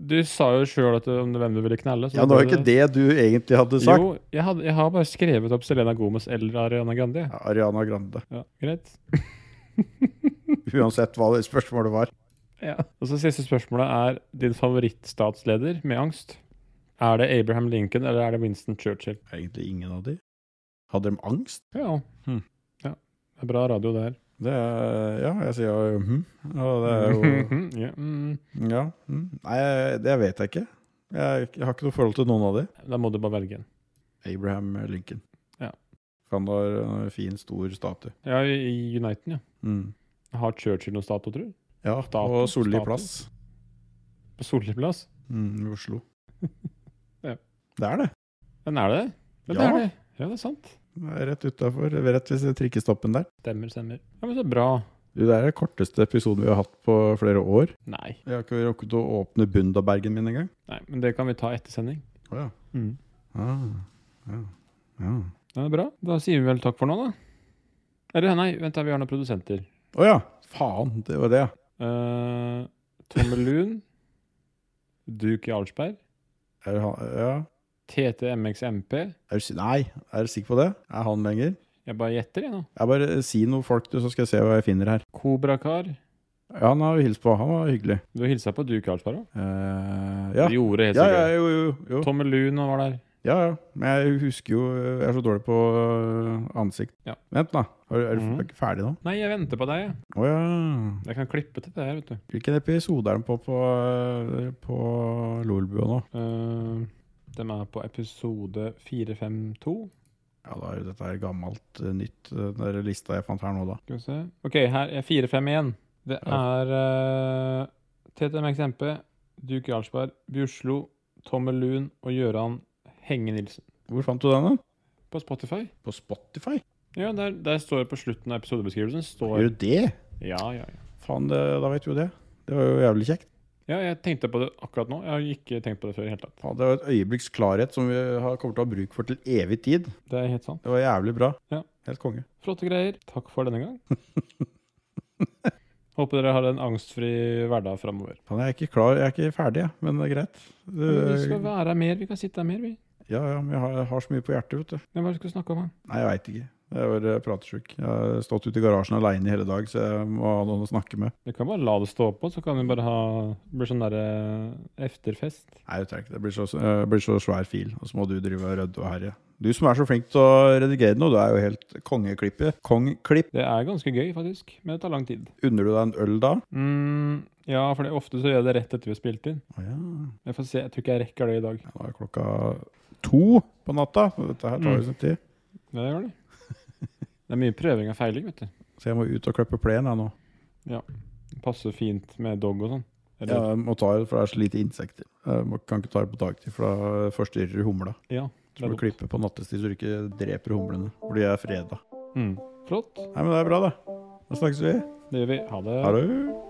B: Du sa jo sjøl om det- hvem du ville knelle. så
A: Ja, det
B: da
A: var jo
B: ble
A: ikke det du egentlig hadde sagt.
B: Jo, jeg, hadde, jeg har bare skrevet opp Selena Gomez eller Ariana Grande. jeg.
A: Ja, Ariana Grande. *laughs*
B: Ja, greit.
A: Uansett hva det spørsmålet var.
B: Ja. Og så Siste spørsmålet er din favorittstatsleder med angst. Er det Abraham Lincoln eller er det Winston Churchill?
A: Egentlig ingen av de. Hadde de angst?
B: Ja, Hm.
A: Hmm.
B: ja. Det er bra radio, det her.
A: Det er, ja, jeg sier jo hm. Og det er
B: *laughs*
A: jo
B: ja, mm.
A: Ja. Mm. Nei, det vet jeg ikke. Jeg, jeg har ikke noe forhold til noen av de.
B: Da må du bare velge en.
A: Abraham Lincoln.
B: Ja.
A: Han har en fin, stor statue.
B: Ja, i i Uniten, ja.
A: Mm.
B: Har Churchill noen statue, tror du?
A: Ja,
B: Statue,
A: og Solli
B: statue.
A: plass
B: På Solli plass?
A: mm, i Oslo.
B: Ja.
A: Det er det.
B: Men er det det? Ja, det
A: Ja.
B: er det. Ja, det er sant.
A: Det er Rett utafor, rett ved trikkestoppen der.
B: Stemmer, stemmer. Ja, men så bra.
A: Du, Det er den korteste episoden vi har hatt på flere år.
B: Nei.
A: Jeg har ikke rukket å åpne Bundabergen min engang.
B: Nei, men det kan vi ta etter sending.
A: Oh, ja.
B: Mm.
A: Ah, ja. Ja.
B: Ja, det er bra. Da sier vi vel takk for nå, da. Eller nei, vent, da, vi har noen produsenter.
A: Å ja! Faen, det var det, ja.
B: Uh, Tommel Lund, Duke Jarlsberg,
A: Er han, ja.
B: TTMXMP.
A: Er du, si- nei, er du sikker på det? Er han lenger?
B: Jeg bare gjetter, jeg nå.
A: Jeg bare eh, Si noe folk, du, så skal jeg se hva jeg finner her.
B: Kobrakar.
A: Ja, han har jo hilst på. Han var hyggelig.
B: Du hilsa på Duke Jarlsberg òg?
A: Eh, ja.
B: Du gjorde helt
A: Ja, ja,
B: sikkert.
A: jo, jo, jo.
B: Tommel Lund og var der.
A: Ja, ja. Men jeg husker jo eh, Jeg er så dårlig på øh, ansikt.
B: Ja.
A: Vent, da. Er, er du
B: Mhm.
A: ikke ferdig nå?
B: Nei, jeg venter på deg, jeg.
A: Å ja.
B: Jeg kan klippe til det her, vet du.
A: Hvilken episode er den på på, øh, på Lolbua nå?
B: Eh, dem er på episode 452.
A: Ja, da er jo dette her gammelt øh, nytt, øh, den der lista jeg fant her nå, da.
B: Skal vi se. OK, her er 451. Det er uh, TTMXMP, Duke Jarlsberg, Bjuslo, Tommel Lund og Gøran Henge Nilsen.
A: Hvor fant du den, da?
B: På Spotify?
A: På Spotify?
B: Ja, der, der står det på slutten av episodebeskrivelsen.
A: Gjør
B: Står,
A: du det?
B: ja, ja, ja.
A: Faen, det, da vet vi jo det. Det var jo jævlig kjekt.
B: ja, jeg tenkte på det akkurat nå. Jeg har ikke tenkt på det før i det hele tatt.
A: Faen, det var et øyeblikks klarhet som vi har kommer til å ha bruk for til evig tid.
B: Det er helt sant.
A: Det var jævlig bra.
B: Ja.
A: Helt konge.
B: Flotte greier. Takk for denne *laughs* gang. Håper dere har en angstfri hverdag framover.
A: Faen, jeg er ikke klar, jeg er ikke ferdig, jeg, men det er greit. Det,
B: Vi skal være her mer. Vi kan sitte her mer, vi.
A: ja, ja, men jeg har, jeg har så mye på hjertet, vet du.
B: Men Hva skal vi snakke om? da?
A: Nei, jeg veit ikke. Jeg var eh, pratesjuk. Jeg har stått ute i garasjen aleine hele dag, så jeg må ha noen å snakke med.
B: Vi kan bare la det stå på, så kan vi bare ha bli sånn derre efterfest.
A: Nei, jeg trenger ikke. Det blir så, eh, blir så svær fil, og så må du drive og rødde og herje. Du som er så flink til å redigere nå, du er jo helt kongeklippet. Kongklipp.
B: Det er ganske gøy, faktisk, men det tar lang tid.
A: Unner du deg en øl da?
B: Mm, ja, for det, ofte så gjør jeg det rett etter vi har spilt inn.
A: Å ja.
B: Jeg får se, jeg tror ikke jeg rekker det i dag.
A: Ja, Da er klokka to på natta. og Dette her tar jo sin tid.
B: Men det gjør det. *laughs* Det er mye prøving og feiling, vet du.
A: Så jeg må ut og klippe plenen jeg nå.
B: Det passer fint med dog og sånn.
A: Ja,
B: Eller,
A: jeg må ta det, for det er så lite insekter. Jeg må- kan ikke ta det på dagtid, for da forstyrrer humla.
B: ja.
A: Så må du
B: det er dumt.
A: klippe på nattestid, så du ikke dreper humlene. For de er freda.
B: Mm. Flott.
A: Nei, men det er bra, det.
B: Da snakkes vi.
A: Det gjør vi. Ha det.
B: Ha det.